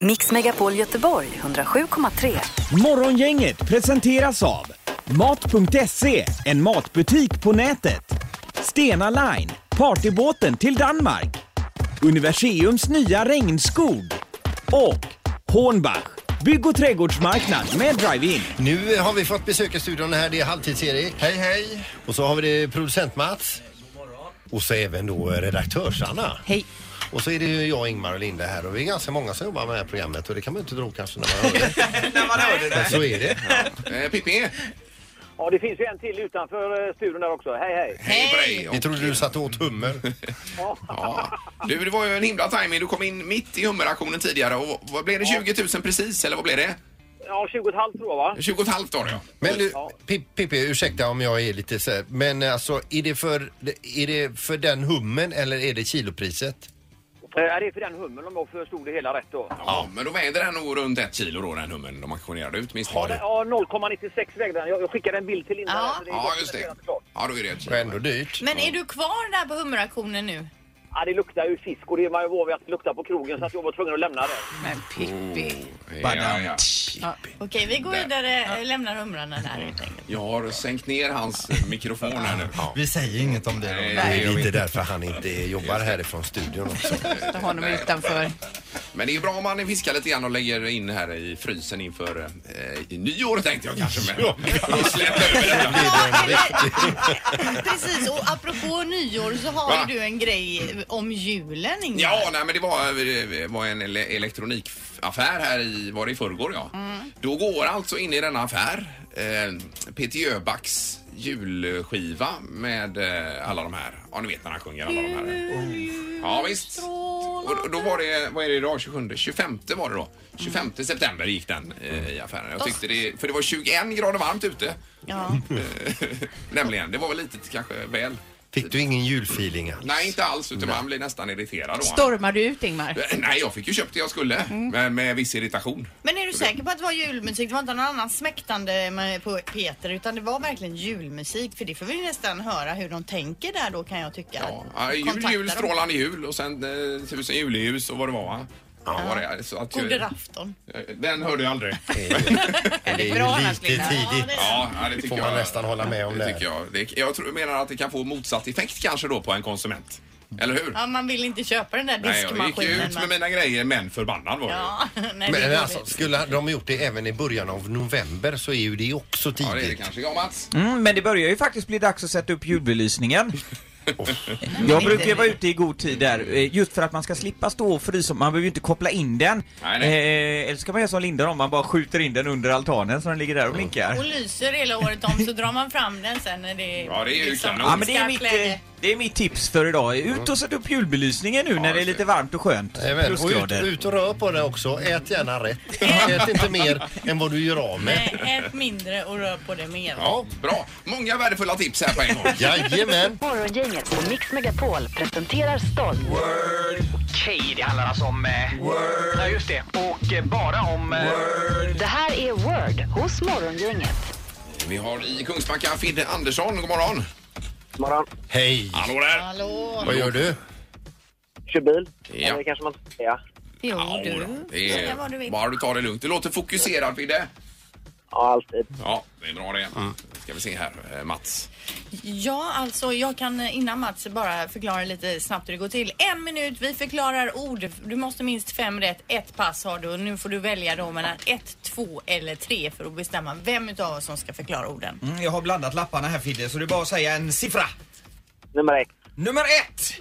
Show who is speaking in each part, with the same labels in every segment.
Speaker 1: Mix Megapol Göteborg 107,3.
Speaker 2: Morgongänget presenteras av Mat.se, en matbutik på nätet. Stena Line, partybåten till Danmark. Universiums nya regnskog. Och Hornbach, bygg och trädgårdsmarknad med drive-in.
Speaker 3: Nu har vi fått besök i studion här. Det är Halvtids-Erik. Hej, hej. Och så har vi det producent Mats. Och så även då redaktörs-Anna.
Speaker 4: Hej.
Speaker 3: Och så är det ju jag, Ingmar och Linda här och vi är ganska många som jobbar med det här programmet och det kan man ju inte tro kanske när man hör det.
Speaker 5: När man hörde
Speaker 3: Men så
Speaker 5: det.
Speaker 3: är det.
Speaker 5: Eh, Pippi,
Speaker 6: Ja, det finns ju en till utanför eh, studion där också. Hej, hej.
Speaker 5: hej på dig.
Speaker 3: Vi trodde du satte åt hummer.
Speaker 5: Ja. Du, det var ju en himla timing. Du kom in mitt i hummeraktionen tidigare och vad blev det 20 000 precis eller vad blev det?
Speaker 6: Ja, 20 och ett halvt tror jag, va?
Speaker 5: 20 och ett halvt var det ja.
Speaker 3: Men du, Pip- Pippi, ursäkta om jag är lite så här, men alltså är det, för, är det för den hummen eller är det kilopriset?
Speaker 6: Eh, det är för den hummen om jag förstod det hela rätt då.
Speaker 5: Ja, men då väger den nog runt ett kilo då den hummen de auktionerade ut minst. Har
Speaker 6: Ja, 0,96 vägde den. Jag, jag skickade en bild till Linda. där, så
Speaker 4: Ja.
Speaker 6: är
Speaker 5: Ja,
Speaker 6: gott
Speaker 5: just det.
Speaker 6: relaterat klart.
Speaker 5: Ja, då är det ett kilo.
Speaker 3: Och ändå dyrt.
Speaker 4: Men är du kvar där på hummeraktionen nu?
Speaker 6: Ja, det luktar ju fisk och det är man ju van vid att det luktar på krogen så att jag var tvungen att lämna det.
Speaker 4: Men Pippi.
Speaker 5: Oh, Ja, ja.
Speaker 4: Ja. Okej, vi går vidare. eh, Lämnar humrarna där helt enkelt.
Speaker 5: Jag har sänkt ner hans eh, mikrofon här nu.
Speaker 7: Vi säger inget om det då.
Speaker 5: Nej,
Speaker 3: Det är
Speaker 5: jag
Speaker 3: ju
Speaker 5: vet
Speaker 3: inte därför han inte jobbar härifrån studion också.
Speaker 4: Ta honom
Speaker 5: Nej.
Speaker 4: utanför.
Speaker 5: Men det är ju bra om man fiskar lite grann och lägger in här i frysen inför eh, i nyår tänkte jag kanske. Men, för att släppa över det.
Speaker 4: Precis, och apropå nyår så har
Speaker 5: Va?
Speaker 4: ju du en grej om julen Ingmar.
Speaker 5: Ja, nej, men det var, eh, var en ele- elektronikaffär här i, var det i förrgår ja. Då går alltså in i denna affär eh, Peter Jöbacks julskiva med eh, alla de här. Ja, ni vet när han sjunger alla de här. Ja, visst. Och då- då var det, vad är det idag, 27? 25 var det då. 25 september gick den eh, i affären. Jag tyckte det, för det var 21 grader varmt ute. Eh,
Speaker 4: Ja.
Speaker 5: Nämligen, det var väl lite kanske väl.
Speaker 3: Fick du ingen julfeeling alls?
Speaker 5: Nej, inte alls, utan man blir nästan irriterad då.
Speaker 4: Stormar du ut Ingmar?
Speaker 5: Eh, Nej, jag fick ju köpt det jag skulle. Men med viss irritation.
Speaker 4: Men är du säker på att det var julmusik? Det var inte någon annan smäktande med- på Peter utan det var verkligen julmusik. För det får vi nästan höra hur de tänker där då kan jag tycka.
Speaker 5: Ja, ja, jul,
Speaker 4: Kontakta
Speaker 5: jul,
Speaker 4: dem.
Speaker 5: strålande jul och sen eh, tusen juleljus och vad det var va? Ja, vad det är. Så att, Eh,
Speaker 4: Gode afton.
Speaker 5: den hörde jag aldrig.
Speaker 3: Det är
Speaker 4: bra
Speaker 3: ju
Speaker 4: annars,
Speaker 3: lite
Speaker 4: Linda?
Speaker 3: tidigt.
Speaker 5: Ja, ja, det tycker
Speaker 3: Får
Speaker 5: jag.
Speaker 3: man nästan hålla med om
Speaker 5: det
Speaker 3: det.
Speaker 5: tycker jag. Det, jag tror, menar att det kan få motsatt effekt kanske då på en konsument. Eller hur?
Speaker 4: Ja, man vill inte köpa den där
Speaker 5: Nej, jag gick ju
Speaker 4: diskmaskinen.
Speaker 5: ut med mina grejer men förbannad var jag. ju.
Speaker 4: Ja, nej, det är
Speaker 3: Men
Speaker 4: dåligt.
Speaker 3: alltså, skulle de gjort det även i början av november så är ju det också tidigt.
Speaker 5: Ja, det är det kanske. Ja, Mats.
Speaker 2: Mm, men det börjar ju faktiskt bli dags att sätta upp julbelysningen. Jag brukar ju vara ute i god tid där, eh, just för att man ska slippa stå och frysa. Man behöver ju inte koppla in den.
Speaker 5: Nej,
Speaker 2: Eh, eller ska man göra som Linda om man bara skjuter in den under altanen så den ligger där och blinkar.
Speaker 8: Mm.
Speaker 4: och lyser hela året om så drar man fram den sen när det
Speaker 5: Ja,
Speaker 4: är... liksom
Speaker 5: det är ju kanon.
Speaker 2: Ja men det är, mitt, eh, det är mitt tips för idag. Eh, Ut och sätt upp julbelysningen nu när det är
Speaker 5: just
Speaker 2: lite varmt och skönt.
Speaker 3: Även. Och ut,
Speaker 2: Plusgrader.
Speaker 3: ut och rör på det också. Ät gärna rätt. Ät inte mer än vad du gör av med.
Speaker 4: Nej, Eh, ät mindre och rör på det mer.
Speaker 5: Ja, bra. Många värdefulla tips här på en gång.
Speaker 3: Jajamän.
Speaker 1: Morgongänget på Mix Megapol presenterar stolt.
Speaker 8: Okej, det handlar alltså om... Eh, Word. Ja, just det. Och eh, bara om... Eh,
Speaker 1: Det här är Word hos Morgongänget.
Speaker 5: Vi har i Kungsbacka Fidde Andersson. God morgon.
Speaker 6: Morgon.
Speaker 3: Hej.
Speaker 5: Hallå där.
Speaker 4: Hallå!
Speaker 3: Vad gör du?
Speaker 6: Kör bil.
Speaker 5: Ja. Eller det
Speaker 6: kanske man inte ska säga.
Speaker 4: Jo,
Speaker 5: Jodå,
Speaker 4: du.
Speaker 5: det
Speaker 4: Säga vad du
Speaker 5: är...
Speaker 4: vill.
Speaker 5: Bara du tar det lugnt. Du låter fokuserad Fidde.
Speaker 6: Ja, alltid.
Speaker 5: Ja, det är bra det. Ska vi se här, eh, Mats.
Speaker 4: Ja, alltså jag kan eh, innan Mats bara förklara lite snabbt hur det går till. En minut, vi förklarar ord. Du måste minst fem rätt. Ett pass har du och nu får du välja då mellan ett, två eller tre för att bestämma vem utav oss som ska förklara orden.
Speaker 7: Mm, jag har blandat lapparna här Fidde, så det är bara att säga en siffra.
Speaker 6: Nummer ett.
Speaker 7: Nummer ett!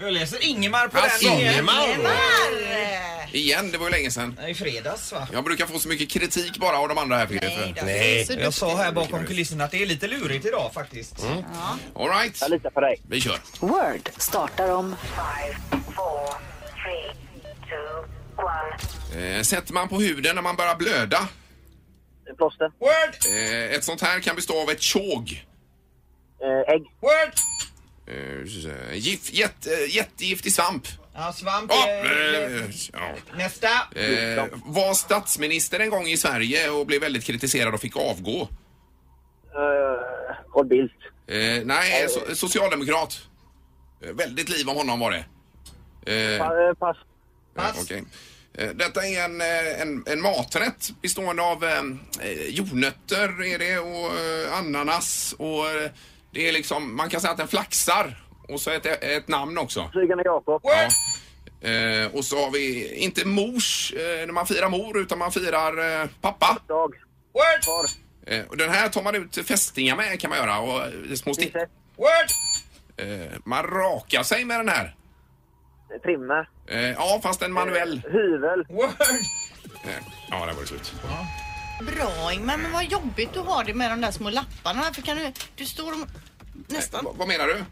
Speaker 7: Jag läser Ingemar på
Speaker 5: Alltså,
Speaker 7: den.
Speaker 5: Ingemar!
Speaker 4: Eh,
Speaker 5: Igen, det var ju länge sedan.
Speaker 7: I fredags va?
Speaker 5: Jag brukar få så mycket kritik bara av de andra här Fidde.
Speaker 4: Nej, då.
Speaker 5: för-
Speaker 3: Nej.
Speaker 4: Så du-
Speaker 7: Jag sa här bakom kulisserna att det är lite lurigt idag faktiskt.
Speaker 3: Mm.
Speaker 5: All right,
Speaker 6: litar på dig.
Speaker 5: vi kör.
Speaker 1: Word startar om
Speaker 5: Eh, sätter man på huden när man börjar blöda?
Speaker 6: Plåster.
Speaker 7: Word!
Speaker 5: Eh, ett sånt här kan bestå av ett tjog.
Speaker 6: Ägg.
Speaker 7: Word!
Speaker 5: Eh, gift, jätt, eh, jättegiftig svamp.
Speaker 7: Ja, svamp.
Speaker 5: Ja,
Speaker 7: eh,
Speaker 5: eh, ja.
Speaker 7: Nästa!
Speaker 5: Eh, var statsminister en gång i Sverige och blev väldigt kritiserad och fick avgå.
Speaker 6: Carl Bildt.
Speaker 5: Eh, nej, so socialdemokrat. Eh, väldigt liv om honom var det. Eh,
Speaker 6: Pass.
Speaker 5: ja,
Speaker 7: Pass.
Speaker 5: okej. Eh, Detta är en, eh, en, en maträtt bestående av eh, eh, jordnötter är det och eh, ananas och eh, det är liksom, man kan säga att den flaxar och så ett, ett namn också.
Speaker 6: Flygande Jakob.
Speaker 5: Ja. Eh, och så har vi inte mors, eh, när man firar mor, utan man firar eh, pappa.
Speaker 6: Dag.
Speaker 7: Word!
Speaker 6: Far.
Speaker 5: Eh, och den här tar man ut fästingar med kan man göra och eh, små stick.
Speaker 6: Pinsett.
Speaker 7: Word!
Speaker 5: Eh, man rakar sig med den här.
Speaker 6: Trimmer.
Speaker 5: Eh, ja, fast en manuell.
Speaker 6: Hyvel.
Speaker 7: Word!
Speaker 5: Eh, ja, där var det slut. Eh,
Speaker 4: Bra Ingmar, men vad jobbigt du har det med de där små lapparna. För kan du, du står och nästan...
Speaker 5: Va- vad menar du?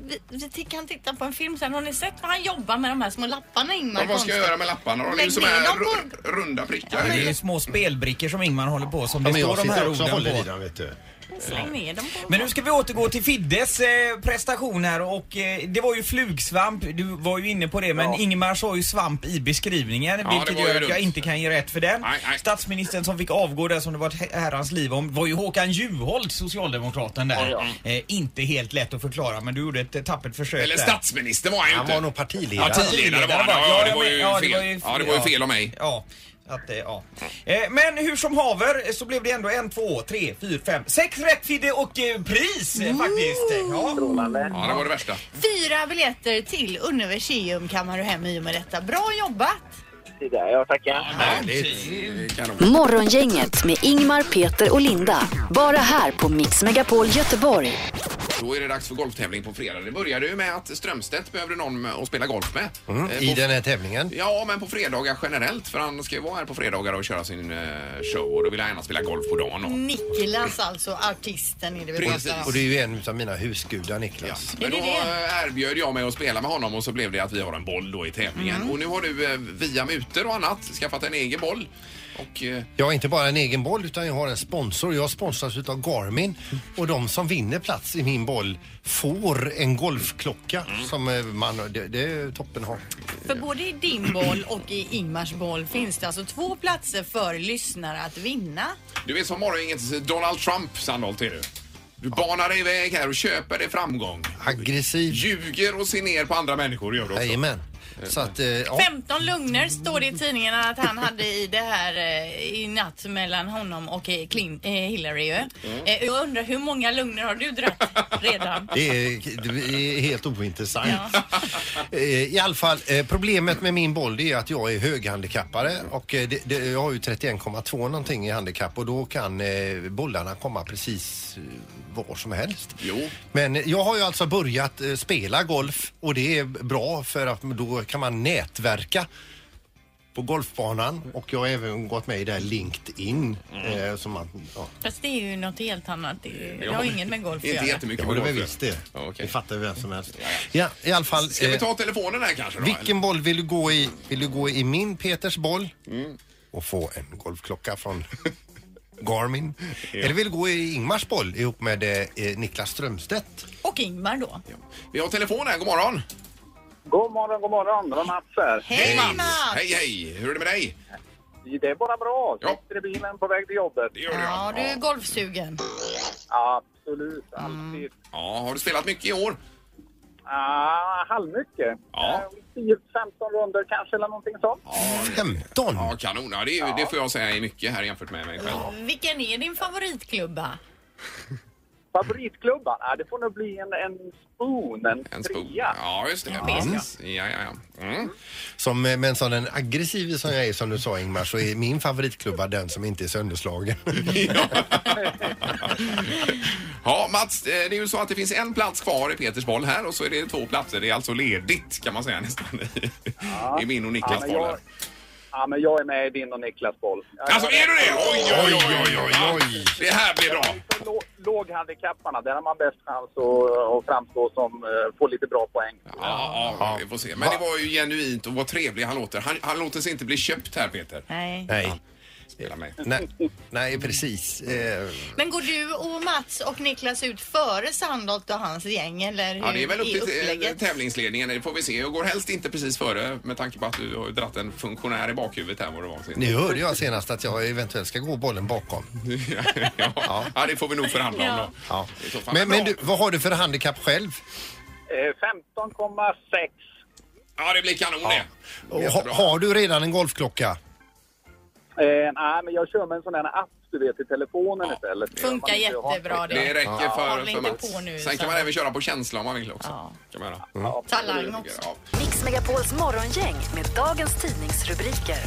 Speaker 4: Vi, vi t- kan titta på en film sen. Har ni sett vad han jobbar med de här små lapparna Ingmar?
Speaker 5: Ja, vad ska jag göra med lapparna? De är ju
Speaker 4: Lägg
Speaker 5: som
Speaker 4: ner
Speaker 5: här
Speaker 4: dem på-
Speaker 5: ru- runda prickar.
Speaker 2: Det är små spelbrickor som Ingmar håller på som
Speaker 3: Ja,
Speaker 2: det
Speaker 3: men jag
Speaker 2: står de
Speaker 3: sitter
Speaker 2: här
Speaker 3: också och håller i
Speaker 2: orden på.
Speaker 3: den, vet du.
Speaker 4: Släng ner dem på.
Speaker 2: Men nu ska vi återgå till Fiddes eh, prestation här och eh, det var ju flugsvamp, du var ju inne på det, men Ingmar sa ju svamp i beskrivningen
Speaker 5: det var
Speaker 2: vilket
Speaker 5: ju
Speaker 2: gör att
Speaker 5: dumt.
Speaker 2: jag inte kan ge rätt för den.
Speaker 5: Nej, nej.
Speaker 2: Statsministern som fick avgå där som det var ett he- herrans liv om var ju Håkan Juholt, socialdemokraten där. Eh, inte helt lätt att förklara men du gjorde ett eh, tappert försök
Speaker 5: Eller
Speaker 2: där.
Speaker 5: statsminister var han ju
Speaker 3: Han var
Speaker 5: inte.
Speaker 3: nog partiledare.
Speaker 5: typ. Partiledare var han. Ja, det var ju
Speaker 2: ja, men-
Speaker 5: fel. Ja, det var ju fel av mig.
Speaker 2: Ja. Att, eh, ja. Eh, men hur som haver eh, så blev det ändå en, två, tre, fyra, fem, sex rätt Fidde och eh, pris eh, faktiskt. Eh, Ja.
Speaker 5: Ja, det var det värsta.
Speaker 4: Fyra biljetter till Universium kammar du hem i och med detta. Bra jobbat!
Speaker 6: Det där, jag tackar.
Speaker 5: Härligt. Eh, Kanon.
Speaker 1: Morgongänget med Ingmar, Peter och Linda. Bara här på Mix Megapol Göteborg.
Speaker 5: Då är det dags för golftävling på fredag. Det började ju med att Strömstedt behövde någon med- att spela golf med. Eh,
Speaker 3: Mm. I
Speaker 5: på-
Speaker 3: den här tävlingen.
Speaker 5: Ja, men på fredagar generellt. För han ska ju vara här på fredagar och köra sin eh, show. Och då vill han gärna spela golf på dagen. Och...
Speaker 4: Niklas alltså, artisten är det vi
Speaker 5: Precis.
Speaker 4: pratar
Speaker 3: Och
Speaker 4: om.
Speaker 3: det är ju en av mina husgudar,
Speaker 5: Ja.
Speaker 3: Niklas.
Speaker 5: Men
Speaker 4: Är
Speaker 5: då
Speaker 4: det det?
Speaker 5: eh, erbjöd jag mig att spela med honom och så blev det att vi har en boll då i tävlingen.
Speaker 4: Mm.
Speaker 5: Och nu har du eh, via mutor och annat skaffat en egen boll. Och eh,
Speaker 3: Jag har inte bara en egen boll utan jag har en sponsor. Jag sponsras utav Garmin och de som vinner plats i min boll får en golfklocka som eh, man, det, det är toppen har.
Speaker 4: För både i din boll och i Ingmars boll finns det alltså två platser för lyssnare att vinna.
Speaker 5: du är som morgongängets Donald Trump, Sandholt är du. Du banar dig iväg här och köper dig framgång.
Speaker 3: Aggressiv.
Speaker 5: Ljuger och ser ner på andra människor gör du också.
Speaker 3: Jajamän. Så att, eh, ja.
Speaker 4: 15 lögner står det i tidningen att han hade i det här eh, i natt mellan honom och eh, Clin- eh, Hillary. ju.
Speaker 5: Mm.
Speaker 4: Eh, Jag undrar hur många lögner har du dragit redan?
Speaker 3: Det är, det är helt ointressant.
Speaker 4: Ja.
Speaker 3: Eh, I alla fall, eh, problemet med min boll det är att jag är höghandikappare och eh, det, det, jag har ju 31,2 någonting i handikapp och då kan eh, bollarna komma precis eh, var som helst.
Speaker 5: Jo.
Speaker 3: Men jag har ju alltså börjat eh, spela golf och det är bra för att då kan man nätverka på golfbanan och jag har även gått med i det här LinkedIn.
Speaker 5: Mm.
Speaker 3: Eh, som man, ja,
Speaker 4: Fast det är ju något helt annat. Det, är- det har inget med golf att
Speaker 5: Inte
Speaker 4: göra.
Speaker 5: jättemycket
Speaker 3: det var det
Speaker 5: med
Speaker 3: väl
Speaker 5: golf.
Speaker 3: visst det.
Speaker 5: Ja, okej.
Speaker 3: Det fattar ju vem som helst. Ja, i alla fall.
Speaker 5: Ska vi
Speaker 3: eh,
Speaker 5: ta telefonen här kanske då?
Speaker 3: Vilken boll vill du gå i? Vill du gå i min Peters boll
Speaker 5: Mm.
Speaker 3: och få en golfklocka från Garmin? Eller vill du gå i Ingmars boll ihop med eh, Niklas Strömstedt?
Speaker 4: Och Ingmar då.
Speaker 5: eller? Vi har telefon här, god morgon.
Speaker 6: God morgon, god morgon. Det var Mats här.
Speaker 4: Hej Mats!
Speaker 5: Hej, hej! Hur är det med dig?
Speaker 6: Det är bara bra.
Speaker 5: Ja.
Speaker 6: Sitter i bilen på väg till jobbet.
Speaker 5: Det gör det,
Speaker 4: Ja, du är
Speaker 5: ja.
Speaker 4: golfsugen.
Speaker 6: Absolut,
Speaker 5: Mm.
Speaker 6: alltid.
Speaker 5: ja. Har du spelat mycket i år?
Speaker 6: Ah, halvmycket.
Speaker 5: Ja.
Speaker 6: Eh, 10-15 runder kanske eller någonting sånt.
Speaker 3: 15!
Speaker 5: Ja, kanon. Ja, det, är, ju- det får jag säga är mycket här jämfört med mig själv.
Speaker 4: Vilken är din favoritklubba?
Speaker 6: Favoritklubban? Ah, det får nog bli en, en spoon, en,
Speaker 5: En spoon.
Speaker 6: trea.
Speaker 5: Ja, just det. Precis. Ja, ja, ja. Mm.
Speaker 3: Som, eh, men som den aggressiva som jag är, som du sa Ingmar, så är min favoritklubba den som inte är sönderslagen.
Speaker 5: ja, Mats, eh, det är ju så att det finns en plats kvar i Peters boll här och så är det två platser. Det är alltså ledigt kan man säga nästan i, i min och
Speaker 6: Ja,
Speaker 5: Niklas
Speaker 6: men
Speaker 5: boll.
Speaker 6: jag,
Speaker 5: här.
Speaker 6: ja, men jag är med i din och Niklas boll. Jag-
Speaker 5: Alltså,
Speaker 6: jag-
Speaker 5: är du det? Oj, oj, oj, oj, oj, oj. Det här blir bra.
Speaker 6: För lå- Låghandikapparna, där har man bäst chans att, att framstå som, eh, få lite bra poäng.
Speaker 5: Ja, ja, vi får se. Men det var ju genuint och vad trevlig han låter. Han, han låter sig inte bli köpt här, Peter.
Speaker 4: Nej.
Speaker 3: Nej.
Speaker 5: Spela mig.
Speaker 3: Nej, nej, precis. Eh,
Speaker 4: Men går du och Mats och Niklas ut före Sandholt och hans gäng eller hur
Speaker 5: Ja, det är väl upp till eh,
Speaker 4: upplägget?
Speaker 5: tävlingsledningen. Det får vi se. Jag går helst inte precis före med tanke på att du har dratt en funktionär i bakhuvudet här. Vad det var sen.
Speaker 3: nu hörde jag senast att jag eventuellt ska gå bollen bakom.
Speaker 5: ja. ja, det får vi nog förhandla om
Speaker 4: Ja.
Speaker 5: då.
Speaker 3: Ja.
Speaker 5: I så fall.
Speaker 3: Men, men
Speaker 5: bra.
Speaker 3: du, vad har du för handikapp själv?
Speaker 6: Eh, 15,6.
Speaker 5: Ja, det blir kanon det.
Speaker 3: Och
Speaker 5: Jättebra.
Speaker 3: ha, har du redan en golfklocka?
Speaker 6: Eh, nej, men jag kör med en sån här app du vet i telefonen
Speaker 5: Ja.
Speaker 6: istället.
Speaker 4: Funkar jättebra det.
Speaker 5: Det räcker för,
Speaker 4: Håll
Speaker 5: för
Speaker 4: inte
Speaker 5: Mats.
Speaker 4: på nu,
Speaker 5: Sen
Speaker 4: så
Speaker 5: kan man
Speaker 4: att-
Speaker 5: även köra på känsla om man vill också.
Speaker 4: Ja.
Speaker 5: Kan man göra.
Speaker 4: Talang också.
Speaker 5: Ja.
Speaker 1: Mix Megapols morgongäng med dagens tidningsrubriker.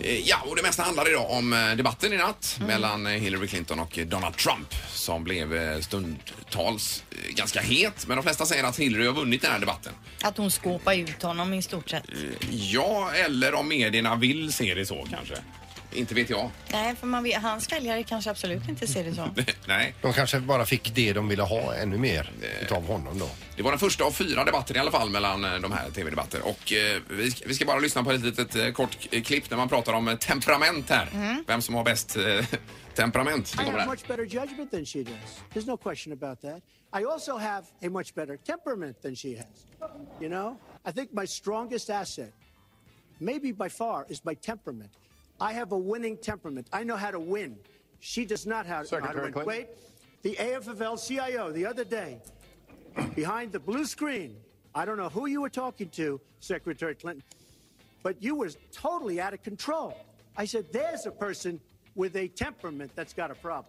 Speaker 5: Eh, Ja, och det mesta handlar idag om eh, debatten i natt
Speaker 4: Mm.
Speaker 5: mellan eh, Hillary Clinton och eh, Donald Trump som blev eh, stundtals eh, ganska het. Men de flesta säger att Hillary har vunnit den här debatten.
Speaker 4: Att hon skåpar ut honom i stort sett.
Speaker 5: Eh, Ja, eller om medierna vill se det så kanske. Inte vet jag.
Speaker 4: Nej, för man vet, hans väljare kanske absolut inte ser det så.
Speaker 5: Nej.
Speaker 3: De kanske bara fick det de ville ha ännu mer utav honom då.
Speaker 5: Det var den första av fyra debatter i alla fall mellan eh, de här tv-debatter. Och eh, vi, sk- vi ska bara lyssna på ett litet eh, kort eh, klipp när man pratar om eh, temperament här.
Speaker 4: Mm.
Speaker 5: Vem som har bäst eh, temperament. Det kommer här.
Speaker 9: much better judgment than she does. There's no question about that. I also have a much better temperament than she has. You know, I think my strongest asset, maybe by far, is my temperament. I have a winning temperament. I know how to win. She does not have know how to win. Wait, the AFL CIO the other day, behind the blue screen, I don't know who you were talking to, Secretary Clinton, but you were totally out of control. I said, there's a person with a temperament that's got a problem.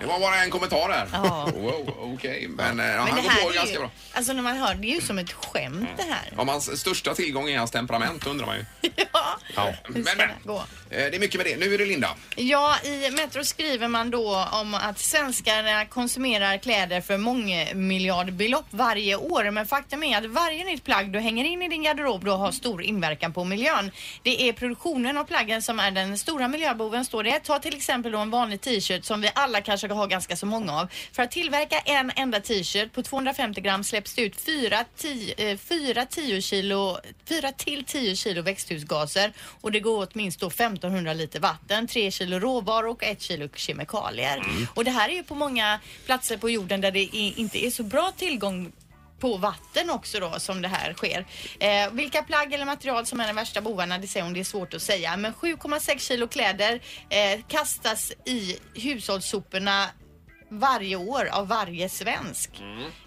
Speaker 5: Det var bara en kommentar där.
Speaker 4: Ja.
Speaker 5: Wow, okej. Men, eh,
Speaker 4: Men
Speaker 5: han
Speaker 4: det
Speaker 5: går på
Speaker 4: här är
Speaker 5: ganska
Speaker 4: ju,
Speaker 5: bra. Mm.
Speaker 4: alltså när man hör det är ju som ett skämt det här.
Speaker 5: Om hans största tillgång är hans temperament undrar man ju.
Speaker 4: Ja.
Speaker 5: Men,
Speaker 4: ska
Speaker 5: men.
Speaker 4: det gå?
Speaker 5: Eh, Det är mycket med det. Nu är det Linda.
Speaker 4: Ja, i Metro skriver man då om att svenskarna konsumerar kläder för många miljardbelopp varje år. Men faktum är att varje nytt plagg du hänger in i din garderob då har stor inverkan på miljön. Det är produktionen av plaggen som är den stora miljöboven står det. Ta till exempel då en vanlig t-shirt som vi alla kanske har ganska så många av. För att tillverka en enda t-shirt på 250 gram släpps det ut 4, 10, 4, 10 kilo, 4 till 10 kilo växthusgaser och det går åt minst då 1500 liter vatten, 3 kilo råvaror och 1 kilo kemikalier.
Speaker 5: Mm.
Speaker 4: Och det här är ju på många platser på jorden där det i- inte är så bra tillgång på vatten också då som det här sker. Eh, vilka plagg eller material som är de värsta bovarna det säger hon, det är svårt att säga. Men 7,6 kilo kläder eh, kastas i hushållssoporna varje år av varje svensk.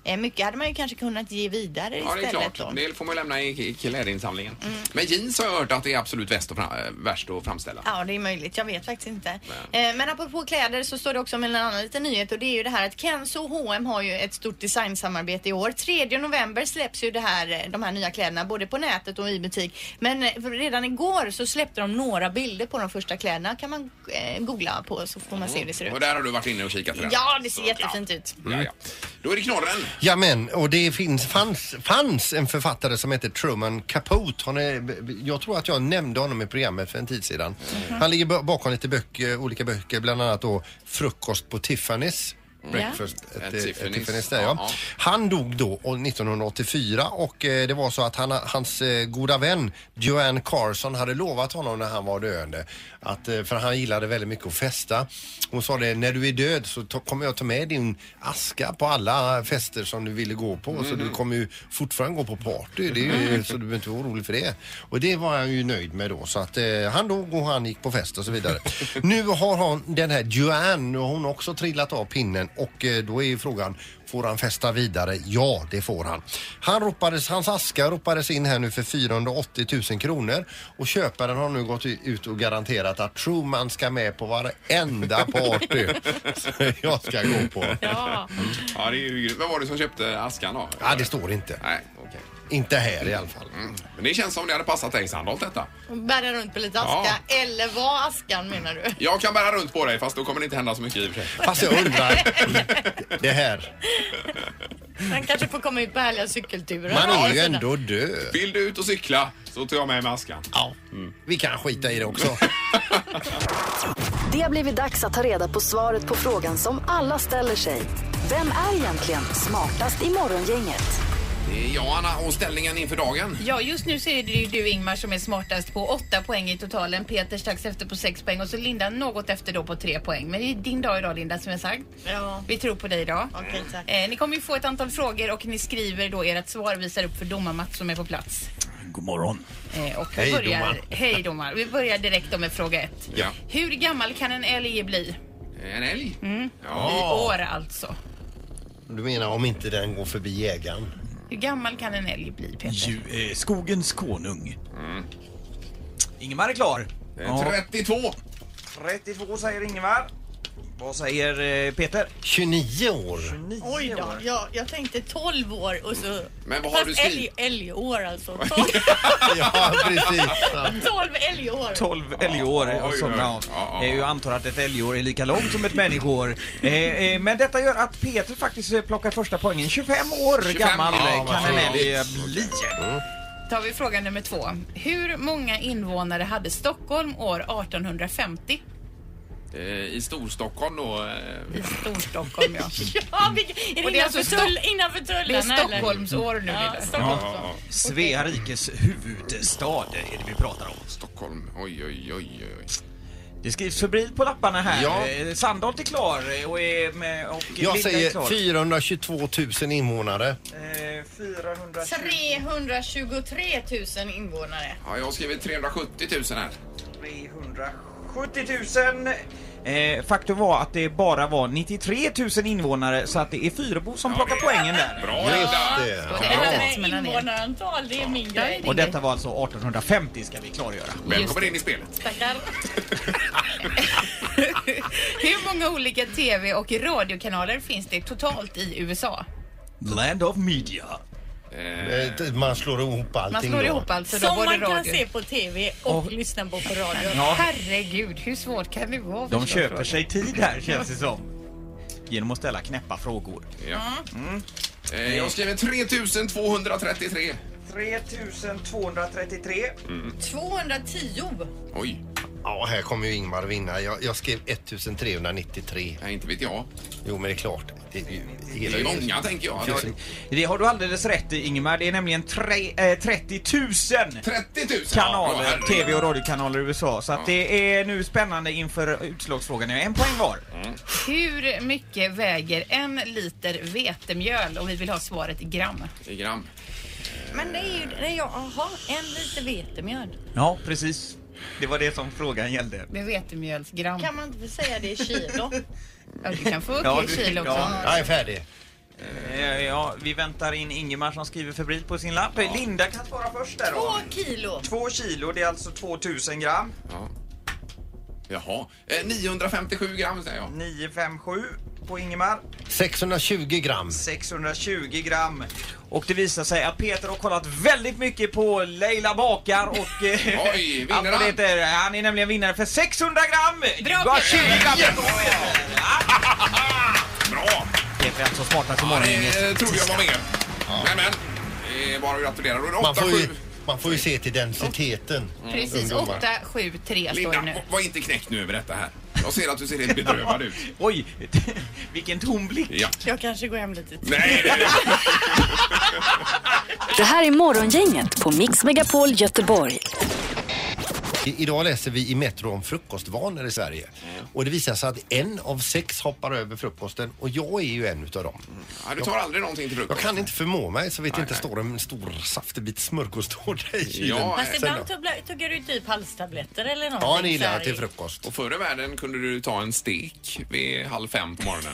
Speaker 4: Eh, mycket hade man ju kanske kunnat ge vidare
Speaker 5: Mm. Ja, det är
Speaker 4: istället
Speaker 5: klart.
Speaker 4: då. Mm.
Speaker 5: Det får man lämna i i klädinsamlingen. Men jeans har jag hört att det är absolut värst att, fram- eh, värst att framställa.
Speaker 4: Ja, det är möjligt. Jag vet faktiskt inte. Eh, men apropå kläder så står det också om en annan liten nyhet och det är ju det här att Kenzo och H&M har ju ett stort designsamarbete i år. 3 november släpps ju det här, eh, de här nya kläderna både på nätet och i butik. Men eh, för redan igår så släppte de några bilder på de första kläderna. kan man eh, googla på så får man se hur det ser ut.
Speaker 5: Och där har du varit inne och kikat redan.
Speaker 4: Ja, det ser
Speaker 5: Så,
Speaker 4: jättefint ut.
Speaker 5: Ja, ja. Då är det knorren.
Speaker 3: Ja men, och det finns, fanns, fanns en författare som heter Truman Capote. Han är, jag tror att jag nämnde honom i programmet för en tid sedan. Han ligger ba- bakom lite böcker, olika böcker, bland annat då Frukost på Tiffany's. Breakfast at,
Speaker 5: At
Speaker 3: eh, at
Speaker 5: Tiffany's.
Speaker 3: Tiffany's där,
Speaker 5: Ja.
Speaker 3: ja. Han dog då år 1984 och eh, det var så att han, hans eh, goda vän Joanne Carson hade lovat honom när han var döende. Att, eh, för han gillade väldigt mycket att festa. Hon sa det, när du är död så ta- kommer jag ta med din aska på alla fester som du ville gå på. Så du kommer ju fortfarande gå på party. Det är ju, så du behöver inte vara orolig för det. Och det var han ju nöjd med då. Så att eh, han dog och han gick på fest och så vidare. nu har hon, den här Joanne, och hon har också trillat av pinnen och eh, då är ju frågan Får han festa vidare? Ja, det får han. han ropades, hans aska ropades in här nu för 480 000 kronor och köparen har nu gått i- ut och garanterat att Truman ska med på varenda party som jag ska gå på.
Speaker 4: Ja.
Speaker 5: Ja, det är ju grymt. Vem var det som köpte askan då?
Speaker 3: Ja, det står inte.
Speaker 5: Nej, okej. Mm.
Speaker 3: Inte här i alla fall.
Speaker 5: Men det känns som det hade passat dig Sandholt detta.
Speaker 4: Bära runt på lite aska. Eller var askan menar du?
Speaker 5: Jag kan bära runt på dig fast då kommer det inte hända så mycket i och för sig.
Speaker 3: Fast jag undrar, det här,
Speaker 4: Han kanske får komma ut på härliga cykelturer.
Speaker 3: man är ju
Speaker 4: Ja,
Speaker 3: ändå död.
Speaker 5: Vill du ut och cykla så tar jag med mig askan.
Speaker 3: Ja, vi kan skita i det också.
Speaker 1: Det har blivit dags att ta reda på svaret på frågan som alla ställer sig. Vem är egentligen smartast i morgongänget?
Speaker 5: Det är jag Anna och ställningen inför dagen.
Speaker 10: Ja, just nu så är det ju du Ingmar som är smartast på åtta poäng i totalen. Peter strax efter på sex poäng och så Linda något efter då på tre poäng. Men det är din dag idag Linda som jag sagt.
Speaker 4: Ja.
Speaker 10: Vi tror på dig idag.
Speaker 4: Okej, tack.
Speaker 10: Eh, ni kommer ju få ett antal frågor och ni skriver då ert svar visar upp för domar Mats som är på plats.
Speaker 2: God morgon.
Speaker 10: Eh, och vi
Speaker 3: Hej,
Speaker 10: börjar,
Speaker 3: domaren.
Speaker 10: Hej domar. Vi börjar direkt då med fråga ett.
Speaker 5: Ja.
Speaker 10: Hur gammal kan en älg bli?
Speaker 5: En älg.
Speaker 10: I år alltså.
Speaker 3: Du menar om inte den går förbi jägaren?
Speaker 4: Hur gammal kan en älg bli, Peter?
Speaker 2: Ju, eh, skogens konung. Mm. Ingemar är klar.
Speaker 5: Eh, 32.
Speaker 2: 32 säger Ingemar. Vad säger eh, Peter?
Speaker 3: 29 år.
Speaker 2: 29
Speaker 7: Oj då, jag, jag tänkte 12 år och så...
Speaker 5: Men vad har
Speaker 7: Fast
Speaker 5: du skrivit?
Speaker 7: Älg, älgår alltså. 12,
Speaker 3: Ja, precis. Ja.
Speaker 7: 12 älgår.
Speaker 2: 12 älgår. och
Speaker 5: oj,
Speaker 2: sånt,
Speaker 5: oj.
Speaker 2: ja.
Speaker 5: Ja, ja.
Speaker 2: Eh, Jag antar att ett älgår är lika långt som ett människoår. Eh, eh, Men detta gör att Peter faktiskt eh, plockar första poängen. 25 år
Speaker 5: 25,
Speaker 2: gammal
Speaker 5: ja,
Speaker 2: eh,
Speaker 5: vad
Speaker 2: kan en
Speaker 5: trevligt.
Speaker 2: älg eh, bli.
Speaker 4: tar vi fråga nummer två. Hur många invånare hade Stockholm år 1850?
Speaker 5: Eh, I Storstockholm då. Eh,
Speaker 4: I Storstockholm, ja.
Speaker 7: Ja, vi, är
Speaker 4: Och
Speaker 7: det,
Speaker 4: det är
Speaker 7: innanför,
Speaker 4: alltså
Speaker 7: tull,
Speaker 4: Stock-
Speaker 7: innanför tullarna
Speaker 4: Det är
Speaker 7: eller?
Speaker 4: Stockholmsår nu.
Speaker 7: Ja,
Speaker 4: Ja,
Speaker 7: Stockholm.
Speaker 2: Svea rikes huvudstad är det vi pratar om.
Speaker 5: Stockholm. Oj, oj, oj. oj.
Speaker 2: Det skrivs febrilt på lapparna här.
Speaker 3: Ja.
Speaker 2: Eh, Sandholt är klar eh, och, är med, och
Speaker 3: Jag
Speaker 2: Linda är
Speaker 3: säger
Speaker 2: klar.
Speaker 3: 422 000 invånare.
Speaker 2: Eh, 420.
Speaker 7: 323 000 invånare.
Speaker 5: Ja, jag har skrivit 370 000 här.
Speaker 2: 370 000. Eh, faktum var att det bara var 93 000 invånare så att det är Fyrebo som plockar poängen där.
Speaker 5: Bra Linda!
Speaker 3: Det-
Speaker 4: Och
Speaker 7: Det
Speaker 4: det
Speaker 7: här
Speaker 4: här
Speaker 3: Ja.
Speaker 4: är-
Speaker 7: med invånarantal, det är min grej.
Speaker 2: Och detta var alltså 1850 ska vi klargöra.
Speaker 5: Välkommen in i spelet.
Speaker 7: Tackar.
Speaker 4: Hur många olika tv och radiokanaler finns det totalt i USA?
Speaker 2: Land of media.
Speaker 5: Eh,
Speaker 3: Eh, Man slår ihop allting
Speaker 4: Man slår
Speaker 3: då.
Speaker 4: ihop alltså då,
Speaker 7: Som
Speaker 4: både
Speaker 7: man kan
Speaker 4: radio...
Speaker 7: se på TV och
Speaker 2: Och-
Speaker 7: lyssna på på radio.
Speaker 2: Ja,
Speaker 4: Herregud, hur svårt kan det vara?
Speaker 2: de
Speaker 4: förstås,
Speaker 2: köper
Speaker 4: radio?
Speaker 2: sig tid här känns det som. Genom att ställa knäppa frågor.
Speaker 5: ja. eh, jag har skrivit 3233.
Speaker 2: 3233.
Speaker 7: 210.
Speaker 5: Oj,
Speaker 3: Ja, här kommer ju Ingmar vinna. Jag, jag skrev 1393.
Speaker 5: nej, inte vet jag.
Speaker 3: Jo, men det är klart. Det, är ju-
Speaker 5: Det
Speaker 3: hela
Speaker 5: är
Speaker 3: ju-
Speaker 5: många, tänker jag.
Speaker 2: Ja, det har du alldeles rätt i Ingemar. Det är nämligen tre, eh, 30 000
Speaker 5: 30 000! Ja,
Speaker 2: kanaler,
Speaker 5: herregud.
Speaker 2: tv och radiokanaler i USA. Så att det är nu spännande inför utslagsfrågan. En poäng var.
Speaker 4: Hur mycket väger en liter vetemjöl? Och vi vill ha svaret i gram.
Speaker 5: I gram.
Speaker 7: Men det är ju... Nej, jag, aha, en liter vetemjöl.
Speaker 2: Ja, precis. Det var det som frågan gällde.
Speaker 4: Det är vetemjölsgram.
Speaker 7: Kan man inte säga det i kilo?
Speaker 4: Ja, du kan få upp
Speaker 2: Ja,
Speaker 4: det
Speaker 2: du-
Speaker 4: i kilo också.
Speaker 2: ja.
Speaker 3: Jag är färdig.
Speaker 2: Eh, Ja, vi väntar in Ingemar som skriver febrilt på sin lapp. Linda kan svara först där då.
Speaker 7: Två kilo.
Speaker 2: Två kilo, det är alltså 2000 gram.
Speaker 5: Ja. Jaha. Eh, 957 gram säger jag.
Speaker 2: 957 på Ingemar.
Speaker 3: 620 gram.
Speaker 2: 620 gram. Och det visar sig att Peter har kollat väldigt mycket på Leila Bakar och... eh,
Speaker 5: Oj, vinner
Speaker 2: allt vad det
Speaker 5: han?
Speaker 2: heter. Han är nämligen vinnare för 600 gram! Du har 20 gram yes!
Speaker 5: Bra!
Speaker 2: Peter är alltså smartast i
Speaker 5: Ja,
Speaker 2: morgongänget.
Speaker 5: det eh, trodde jag var med. Men, men. Det är bara att gratulera. Då är det
Speaker 3: Man får, ju,
Speaker 5: 8-7.
Speaker 3: man får ju se till densiteten.
Speaker 4: Mm. Precis,
Speaker 3: ungdomar.
Speaker 4: 8, 7, 3 står det
Speaker 5: Linda,
Speaker 4: nu.
Speaker 5: var- var inte knäckt nu över detta här. Jag ser att du ser helt bedrövad ut.
Speaker 2: Oj, vilken tom blick.
Speaker 5: Ja.
Speaker 7: Jag kanske går hem lite tidigare.
Speaker 5: Nej, nej, nej.
Speaker 1: Det här är Morgongänget på Mix Megapol Göteborg.
Speaker 3: I, idag läser vi i Metro om frukostvanor i Sverige. Och det visar sig att en av sex hoppar över frukosten och jag är ju en utav dem.
Speaker 5: Ja, du tar aldrig någonting till
Speaker 3: Jag
Speaker 5: frukost.
Speaker 3: kan inte förmå mig så vet
Speaker 5: Nej,
Speaker 3: inte
Speaker 5: nej.
Speaker 3: står en stor saftig bit smörgåstårta i kylen.
Speaker 5: Ja, eh,
Speaker 7: Fast
Speaker 5: Sen
Speaker 7: ibland tugglar- tuggar du typ halstabletter eller någonting.
Speaker 3: Ja, ni
Speaker 7: så
Speaker 3: gillar
Speaker 7: här
Speaker 3: jag till
Speaker 7: i-
Speaker 3: frukost.
Speaker 5: Och förr i världen kunde du ta en stek vid halv fem på morgonen.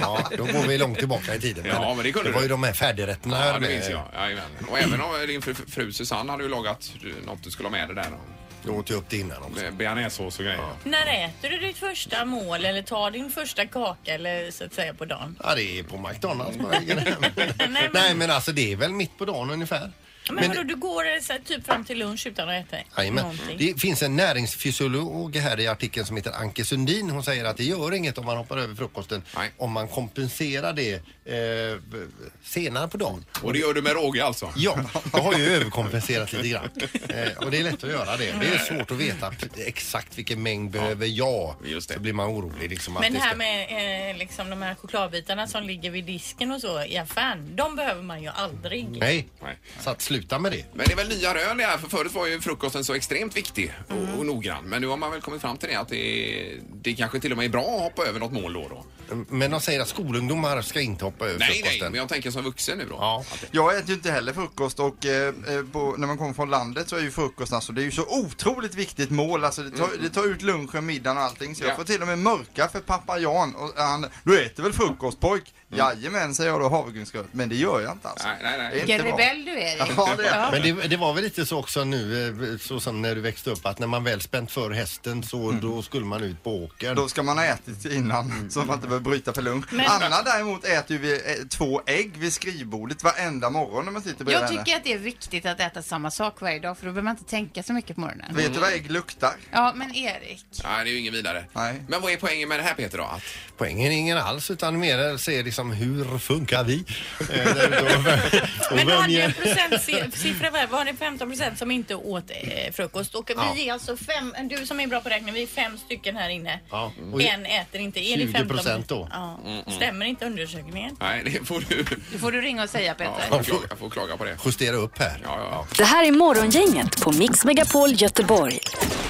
Speaker 3: Ja, då går vi långt tillbaka i tiden.
Speaker 5: Ja, men det kunde
Speaker 3: var
Speaker 5: du.
Speaker 3: ju de här färdigrätterna.
Speaker 5: Ja,
Speaker 3: här
Speaker 5: det
Speaker 3: med-
Speaker 5: minns jag. Jajamän. Och även om eh, din fru, fru Susanne hade ju lagat eh, något du skulle ha med dig där. då.
Speaker 3: Jag åt ju upp det innan också.
Speaker 5: Med Bearnaisesås och grejer.
Speaker 7: När äter du ditt första mål eller tar din första kaka eller så att säga på dagen?
Speaker 3: Ja, det är på McDonalds på vägen hem.
Speaker 7: men-
Speaker 3: Nej, men alltså det är väl mitt på dagen ungefär.
Speaker 7: Men,
Speaker 3: Men-
Speaker 7: vadå, du går eh, så här, typ fram till lunch utan att äta
Speaker 3: Jajamän.
Speaker 7: någonting?
Speaker 3: Det finns en näringsfysiolog här i artikeln som heter Anke Sundin. Hon säger att det gör inget om man hoppar över frukosten
Speaker 5: Nej.
Speaker 3: om man kompenserar det eh, b- senare på dagen.
Speaker 5: Och det gör du med råge alltså?
Speaker 3: Ja, jag har ju överkompenserat lite grann. Eh, och det är lätt att göra det. Det är svårt att veta p- exakt vilken mängd behöver jag.
Speaker 5: Just det.
Speaker 3: Så blir man orolig. Liksom, att
Speaker 7: Men
Speaker 3: det
Speaker 7: det
Speaker 3: ska-
Speaker 7: här med eh, liksom de här chokladbitarna som ligger vid disken och så i affären, de behöver man ju aldrig.
Speaker 3: Nej,
Speaker 5: Nej.
Speaker 3: så att sluta med det.
Speaker 5: Men det är väl nya rön det här, för förut var ju frukosten så extremt viktig och, och noggrann. Men nu har man väl kommit fram till det att det, det kanske till och med är bra att hoppa över något mål då. då.
Speaker 3: Men de säger att skolungdomar ska inte hoppa över
Speaker 5: Nej, nej,
Speaker 3: frukosten.
Speaker 5: men jag tänker som vuxen nu då.
Speaker 11: Jag äter ju inte heller frukost och eh, eh, på, när man kommer från landet så är ju frukost alltså, det är ju så otroligt viktigt mål. Alltså, det, tar, det tar ut lunchen, middagen och allting. Så
Speaker 5: Ja.
Speaker 11: jag får till och med mörka för pappa Jan och han, du äter väl frukost pojk? Jajamän säger jag då havregrynsgröt. Men det gör jag inte alltså.
Speaker 5: Nej, nej, nej.
Speaker 11: Det är
Speaker 4: Vilken
Speaker 11: inte bra.
Speaker 4: rebell du är. Erik.
Speaker 11: Ja, det är jag.
Speaker 3: Men det, det var väl lite så också nu, eh, så som när du växte upp, att när man väl spänt för hästen så
Speaker 5: Mm.
Speaker 3: då skulle man ut på åkern.
Speaker 11: Då ska man ha ätit innan så man inte behöver bryta för lunch.
Speaker 4: Men-
Speaker 11: Anna däremot äter ju vi, eh, två ägg vid skrivbordet varenda morgon när man sitter bredvid
Speaker 4: Jag
Speaker 11: henne.
Speaker 4: tycker att det är viktigt att äta samma sak varje dag för då behöver man inte tänka så mycket på morgonen.
Speaker 11: Vet du vad ägg luktar?
Speaker 4: Ja, men Erik.
Speaker 5: Nej, det är ju ingen vidare. Men vad är poängen med det här Peter då? Att...
Speaker 3: Poängen är ingen alls utan mer se liksom hur funkar vi? Eh, där du då- och
Speaker 7: Men du
Speaker 3: vem
Speaker 7: hade ju
Speaker 3: ger-
Speaker 7: en procentsiffra där. Var det 15 procent som inte åt eh, frukost? Och vi
Speaker 3: Ja.
Speaker 7: är alltså fem, du som är bra på räkning, vi är fem stycken här inne.
Speaker 3: Ja, och-
Speaker 7: En äter inte. Är det
Speaker 3: 20%
Speaker 7: 15
Speaker 3: då?
Speaker 7: Ja.
Speaker 5: Mm, mm.
Speaker 7: Stämmer inte undersökningen?
Speaker 5: Nej, det får du...
Speaker 4: Det får du ringa och säga Peter.
Speaker 5: Jag får klaga, jag får klaga på det.
Speaker 3: Justera upp här.
Speaker 5: Ja, ja, ja.
Speaker 1: Det här är Morgongänget på Mix Megapol Göteborg.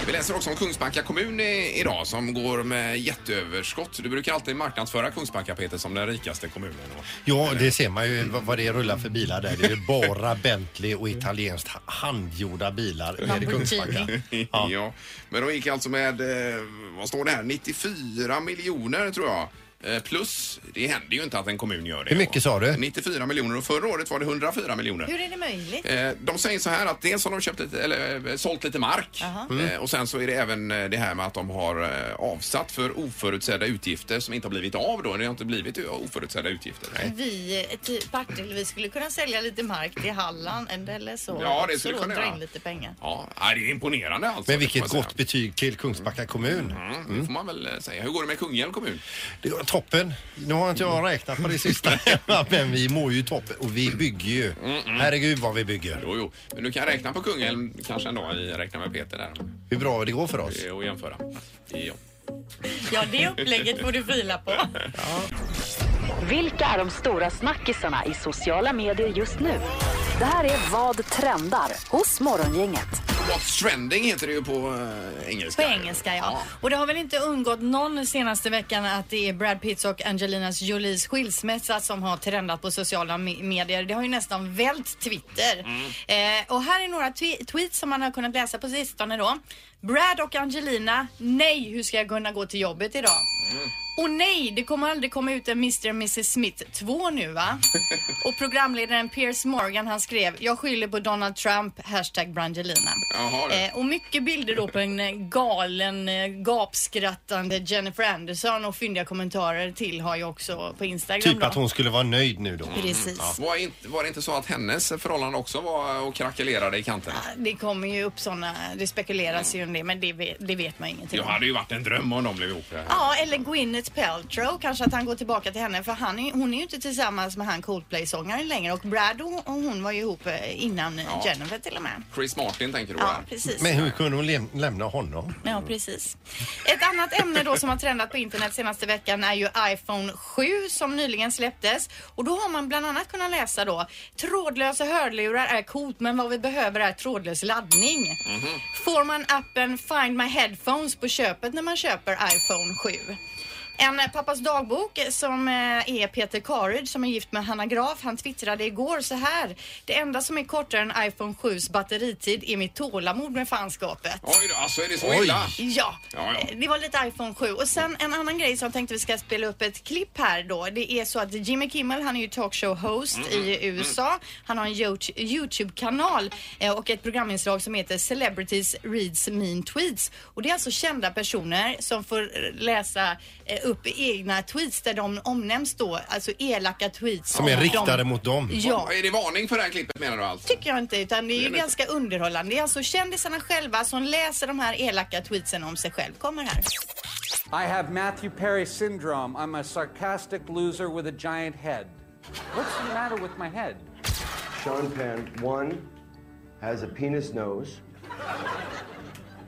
Speaker 5: Vi läser också om Kungsbacka kommun i- idag som går med jätteöverskott. Du brukar alltid marknadsföra Kungsbacka Peter som den rikaste kommunen. Och-
Speaker 3: Ja, det ser man ju vad vad det rullar för bilar där. Det är ju bara Bentley och italienskt ha- handgjorda bilar nere i Kungsbacka.
Speaker 5: Ja. Men de gick alltså med, eh, vad står det här, 94 miljoner tror jag. Eh, Plus, det händer ju inte att en kommun gör det.
Speaker 3: Hur mycket sa du?
Speaker 5: 94 miljoner och förra året var det 104 miljoner.
Speaker 7: Hur är det möjligt?
Speaker 5: Eh, De säger så här att dels har de köpt lite, eller eh, sålt lite mark
Speaker 7: Jaha.
Speaker 3: Mm.
Speaker 5: Eh, och sen så är det även eh, det här med att de har eh, avsatt för oförutsedda utgifter som inte har blivit av då. Det har inte blivit eh, oförutsedda utgifter.
Speaker 7: Vi, eh, typ Partille, vi skulle kunna sälja lite mark till Halland eller så.
Speaker 5: Ja, det
Speaker 7: Så
Speaker 5: skulle
Speaker 7: då
Speaker 5: kunna
Speaker 7: dra
Speaker 5: göra.
Speaker 7: in lite pengar.
Speaker 5: Ja, nej, det är imponerande alltså.
Speaker 3: Men
Speaker 5: det
Speaker 3: vilket
Speaker 5: får man
Speaker 3: gott betyg till Kungsbacka kommun.
Speaker 5: säga. Mm, det får man väl eh, säga. Hur går det med Kungälv kommun?
Speaker 3: Det går toppen. Nu har inte jag räknat på det sista hemma, men vi mår ju toppen och vi bygger ju. Herregud vad vi bygger.
Speaker 5: Jo, jo. Men du kan räkna på Kungälv kanske en dag i Räkna med Peter där.
Speaker 3: Hur bra det går för oss.
Speaker 5: Eh, Och jämföra. Ja.
Speaker 7: Ja, det upplägget får du fila på.
Speaker 1: Vilka är de stora snackisarna i sociala medier just nu? Det här är Vad trendar hos Morgongänget.
Speaker 5: What's trending heter det ju på eh, engelska.
Speaker 7: På engelska, ja. Och det har väl inte undgått någon senaste veckan att det är Brad Pitts och Angelinas Jolies skilsmässa som har trendat på sociala me- medier. Det har ju nästan vält Twitter. Eh, och här är några twe- tweets som man har kunnat läsa på sistone då. Brad och Angelina, nej, hur ska jag kunna gå till jobbet idag? Och nej, det kommer aldrig komma ut en Mr och Mrs Smith 2 nu va? Och programledaren Piers Morgan han skrev, jag skyller på Donald Trump, hashtag Brangelina.
Speaker 5: Jaha, du.
Speaker 7: Eh, och mycket bilder då på en eh, galen, eh, gapskrattande Jennifer Anderson och fyndiga kommentarer till har jag också på Instagram
Speaker 3: Typ
Speaker 7: då.
Speaker 3: att hon Mm, skulle vara nöjd nu då.
Speaker 7: Precis.
Speaker 5: Ja. Var, inte, var det inte så att hennes förhållande också var och krackelerade i kanterna?
Speaker 7: Det kommer ju upp sådana, det spekuleras ju om det men det vet, det vet man ju ingenting
Speaker 5: Det
Speaker 7: om.
Speaker 5: hade ju varit en dröm om de blev ihop.
Speaker 7: Ja, eller Gwyneth Paltrow kanske att han går tillbaka till henne för han är, hon är ju inte tillsammans med han Coldplay-sångaren längre och Brad och, och hon var ju ihop eh, innan eh,
Speaker 5: Ja.
Speaker 7: Jennifer till och med.
Speaker 5: Chris Martin tänker du
Speaker 7: Ja,
Speaker 5: där.
Speaker 7: precis.
Speaker 3: Men hur kunde hon läm- lämna honom?
Speaker 7: Ja, precis. Ett annat ämne då som har trendat på internet senaste veckan är ju iPhone 7 som nyligen släpptes. Och då har man bland annat kunnat läsa då trådlösa hörlurar är coolt men vad vi behöver är trådlös laddning. Får man appen Find My Headphones på köpet när man köper iPhone 7? En eh, pappas dagbok eh, som eh, är Peter Karyd som är gift med Hanna Graf. Han twittrade igår så här. Det enda som är kortare än iPhone 7s batteritid är mitt tålamod med fanskapet.
Speaker 5: Oj då, alltså är det så
Speaker 7: Oj.
Speaker 5: illa?
Speaker 7: Ja,
Speaker 5: Ja, ja.
Speaker 7: eh, det var lite iPhone 7. Och sen en annan grej som jag tänkte vi ska spela upp ett klipp här då. Det är så att Jimmy Kimmel, han är ju talkshow-host i USA. Han har en Yout- YouTube-kanal eh, och ett programinslag som heter Celebrities Reads Mean Tweets. Och det är alltså kända personer som får eh, läsa eh, upp egna tweets där de omnämns då, alltså elaka tweets.
Speaker 3: Som är
Speaker 7: mot
Speaker 3: riktade mot dem.
Speaker 7: Ja.
Speaker 5: Är det varning för det här klippet menar du alltså?
Speaker 7: tycker jag inte utan det är
Speaker 5: Det
Speaker 7: ju
Speaker 5: är det
Speaker 7: ganska underhållande. Det är alltså kändisarna själva som läser de här elaka tweetsen om sig själv. Kommer här.
Speaker 12: I have Matthew Perry syndrome. I'm a sarcastic loser with a giant head. What's the matter with my head?
Speaker 13: Sean Penn, one, has a penis nose.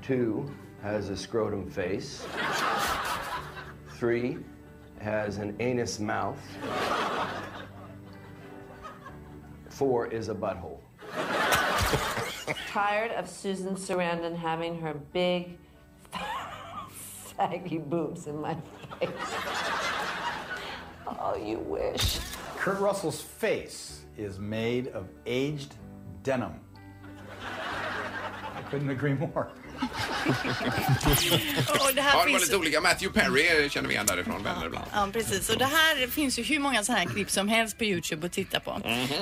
Speaker 13: Two, has a scrotum face. Three, has an anus mouth. Four is a butthole.
Speaker 14: tired of Susan Sarandon having her big, saggy boobs in my face. Oh, you wish.
Speaker 15: Kurt Russell's face is made of aged denim. I couldn't agree more.
Speaker 7: Och det
Speaker 5: Ja,
Speaker 7: här
Speaker 5: det var
Speaker 7: finns...
Speaker 5: lite olika. Matthew Perry känner vi igen därifrån, vänner ibland.
Speaker 7: Ja, precis. Och det här finns ju hur många sådana här klipp som helst på Youtube att titta på.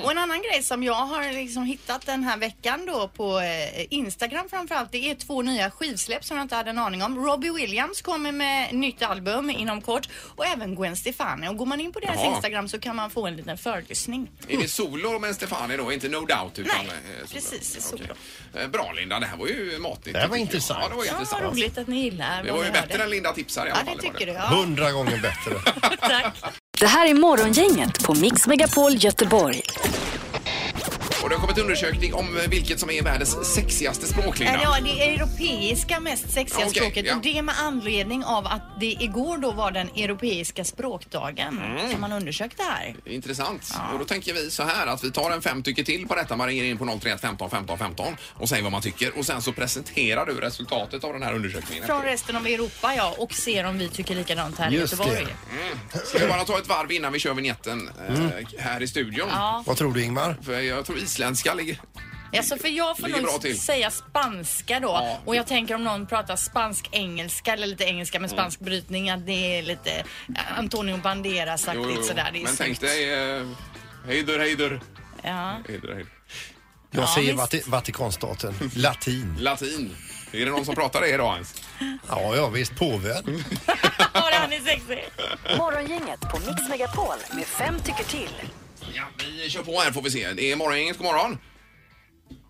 Speaker 7: Och en annan grej som jag har liksom hittat den här veckan då på eh, Instagram framförallt, det är två nya skivsläpp som jag inte hade en aning om. Robbie Williams kommer med nytt album inom kort och även Gwen Stefani. Och går man in på deras
Speaker 5: Jaha.
Speaker 7: Instagram så kan man få en liten förlyssning.
Speaker 5: Är det solo med Stefani då? Inte No Doubt utan...
Speaker 7: Nej,
Speaker 5: eh, solo.
Speaker 7: precis. Så bra.
Speaker 5: Eh, Bra Linda, det här var ju matigt.
Speaker 3: Det här var
Speaker 5: tycker jag.
Speaker 3: intressant.
Speaker 5: Ja, det var
Speaker 7: Ja,
Speaker 5: intressant.
Speaker 7: vad roligt att ni gillar
Speaker 5: Det
Speaker 7: vad
Speaker 5: var ju
Speaker 7: ni hörde.
Speaker 5: bättre än Linda tipsar i alla
Speaker 7: Ja,
Speaker 5: fall.
Speaker 7: det tycker du. Ja.
Speaker 3: Hundra gånger bättre.
Speaker 1: Det här är Morgongänget på Mix Megapol Göteborg.
Speaker 5: Och det har kommit undersökning om eh, vilket som är världens sexigaste språk, Linda.
Speaker 7: Ja, det är europeiska mest sexiga
Speaker 5: Okej,
Speaker 7: språket
Speaker 5: ja.
Speaker 7: och det med anledning av att det igår då var den europeiska språkdagen
Speaker 5: Mm.
Speaker 7: som man undersökte här.
Speaker 5: Intressant. Och då tänker vi så här att vi tar en fem tycker till på detta. Man ringer in på 031 15 15 15 och säger vad man tycker. Och sen så presenterar du resultatet av den här undersökningen.
Speaker 7: Från resten av Europa ja och ser om vi tycker likadant här i Göteborg.
Speaker 5: Mm. Ska vi bara ta ett varv innan vi kör vignetten eh,
Speaker 3: Mm.
Speaker 5: här i studion?
Speaker 7: Ja.
Speaker 3: Vad tror du Ingmar?
Speaker 5: För jag tror isländska ligger...
Speaker 7: Alltså för jag får
Speaker 5: Ligger bra
Speaker 7: nog
Speaker 5: till.
Speaker 7: säga spanska då och jag tänker om någon pratar spansk-engelska eller lite engelska med
Speaker 5: Mm.
Speaker 7: spansk brytning att det är lite eh, Antonio
Speaker 5: Jo, jo, jo.
Speaker 7: Banderas-aktigt sådär. Det är
Speaker 5: Men tänk
Speaker 7: snyggt.
Speaker 5: dig... Eh, hejdur, hejdur.
Speaker 7: Ja.
Speaker 5: hejdur, hejdur.
Speaker 3: Jag
Speaker 5: Ja,
Speaker 3: säger
Speaker 5: visst.
Speaker 3: Vati- Vatikanstaten. Latin.
Speaker 5: Latin. Är det någon som pratar det idag ens?
Speaker 3: Ja, ja visst. Påven.
Speaker 7: Ja, det här är sexigt.
Speaker 1: Morgongänget på Mix Megapol med fem tycker till.
Speaker 5: Ja, vi kör på här får vi se. Det är morgongänget, god morgon. Eh,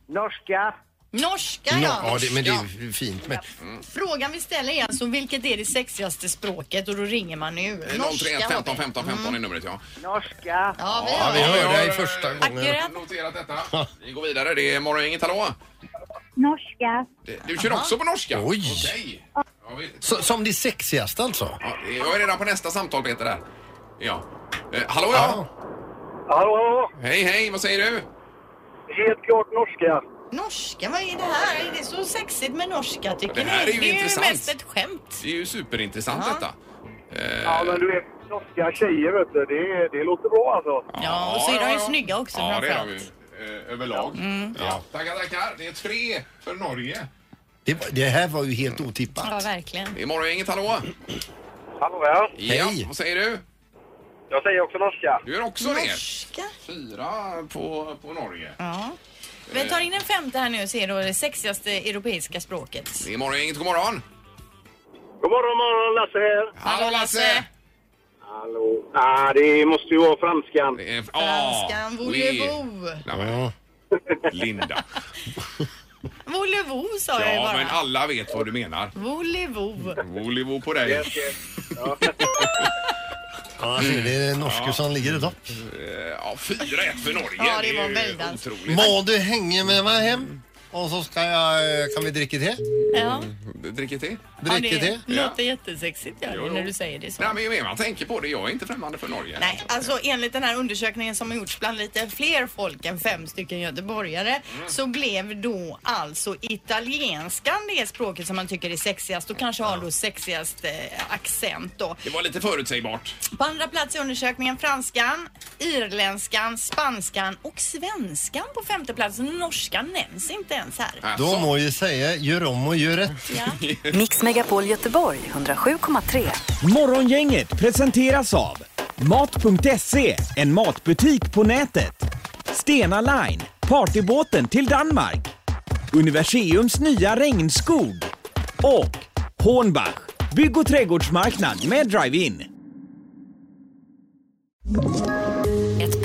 Speaker 6: Norska.
Speaker 7: Norska
Speaker 3: Nå-
Speaker 7: ja.
Speaker 3: Ja, det, men det är ju fint. Men...
Speaker 7: Frågan vi ställer är alltså vilket är det sexigaste språket och då ringer man nu.
Speaker 5: 031
Speaker 7: har vi.
Speaker 5: 15 15 15 är numret ja.
Speaker 6: Norska.
Speaker 7: Ja, vi
Speaker 3: Ja,
Speaker 7: har
Speaker 3: vi
Speaker 7: det.
Speaker 3: hörde dig första gången.
Speaker 7: Akkurat.
Speaker 5: Noterat detta. Vi går vidare. Det är morgongänget, hallå.
Speaker 16: Norska.
Speaker 5: Det- Du kör också på norska?
Speaker 3: Oj.
Speaker 5: Okej.
Speaker 3: Så, som det sexigaste alltså?
Speaker 5: Ja, det- Jag är redan på nästa samtal Peter där. Ja. Eh, hallå ja. Hallå, Hej, hej, vad säger du?
Speaker 6: Helt klart norska.
Speaker 7: Norska, vad är det här? Är det så sexigt med norska tycker
Speaker 5: Det här
Speaker 7: ni?
Speaker 5: är ju
Speaker 7: det är
Speaker 5: intressant.
Speaker 7: ju mest ett skämt.
Speaker 5: Det är ju superintressant
Speaker 7: Ja.
Speaker 5: detta.
Speaker 6: Ja, men du vet, norska tjejer, vet du, det, det låter bra alltså.
Speaker 7: Ja, och så är de ju snygga också
Speaker 5: Ja, det är de ju.
Speaker 7: framförallt. Mm.
Speaker 5: eh, Överlag. Ja. Tackar, tackar. Det är tre för Norge.
Speaker 3: Det, var- det här var ju helt otippat.
Speaker 7: Ja, verkligen.
Speaker 5: Det är morgongänget, hallå.
Speaker 6: Hallå ja.
Speaker 5: Ja, vad säger du?
Speaker 6: Jag säger också norska.
Speaker 5: Du gör också
Speaker 7: Norska.
Speaker 5: det. Fyra på, på Norge.
Speaker 7: Ja. Vi tar in en femte här nu och ser då det sexigaste europeiska språket.
Speaker 5: Det är morgongänget, god morgon.
Speaker 6: God morgon, morgon, Lasse här.
Speaker 5: Hallå Lasse!
Speaker 6: Hallå. Ah, det måste ju vara franskan.
Speaker 7: Franskan, voulez-vous.
Speaker 5: Ja. Linda.
Speaker 7: Voulez-vous sa jag ju
Speaker 5: Ja, men
Speaker 7: bara.
Speaker 5: alla vet vad du menar.
Speaker 7: Voulez-vous.
Speaker 5: Volevo på dig.
Speaker 6: Yes, yes.
Speaker 3: Ja, alltså, det är norske som ligger i topp.
Speaker 5: Eh, Ja, 4-1 för Norge.
Speaker 7: Ja, det var
Speaker 5: är ju
Speaker 7: väldans.
Speaker 5: otroligt.
Speaker 3: Må du hänga med mig hem? Och så ska jag, eh, kan vi dricka te?
Speaker 7: Ja.
Speaker 5: Dricker te?
Speaker 7: Ja,
Speaker 3: Dricker te?
Speaker 7: det låter jättesexigt gör
Speaker 5: Jo,
Speaker 7: det
Speaker 5: jo.
Speaker 7: när du säger det så.
Speaker 5: Nej, men ju mer man tänker på det, jag är inte främmande för Norge.
Speaker 7: Nej, alltså enligt den här undersökningen som har gjorts bland lite fler folk än fem stycken göteborgare så blev då alltså italienskan det språket som man tycker är sexigast och kanske har då sexigast eh, accent då.
Speaker 5: Det var lite förutsägbart.
Speaker 7: På andra plats i undersökningen franskan, irländskan, spanskan och svenskan på femte plats. Norskan nämns inte ens här.
Speaker 3: Då må jag säga, gör om och gör rätt.
Speaker 1: Mix Megapol Göteborg 107,3.
Speaker 17: Morgongänget presenteras av Mat.se, en matbutik på nätet. Stena Line, partybåten till Danmark. Universiums nya regnskog. Och Hornbach, bygg och trädgårdsmarknad med drive-in.
Speaker 18: Ett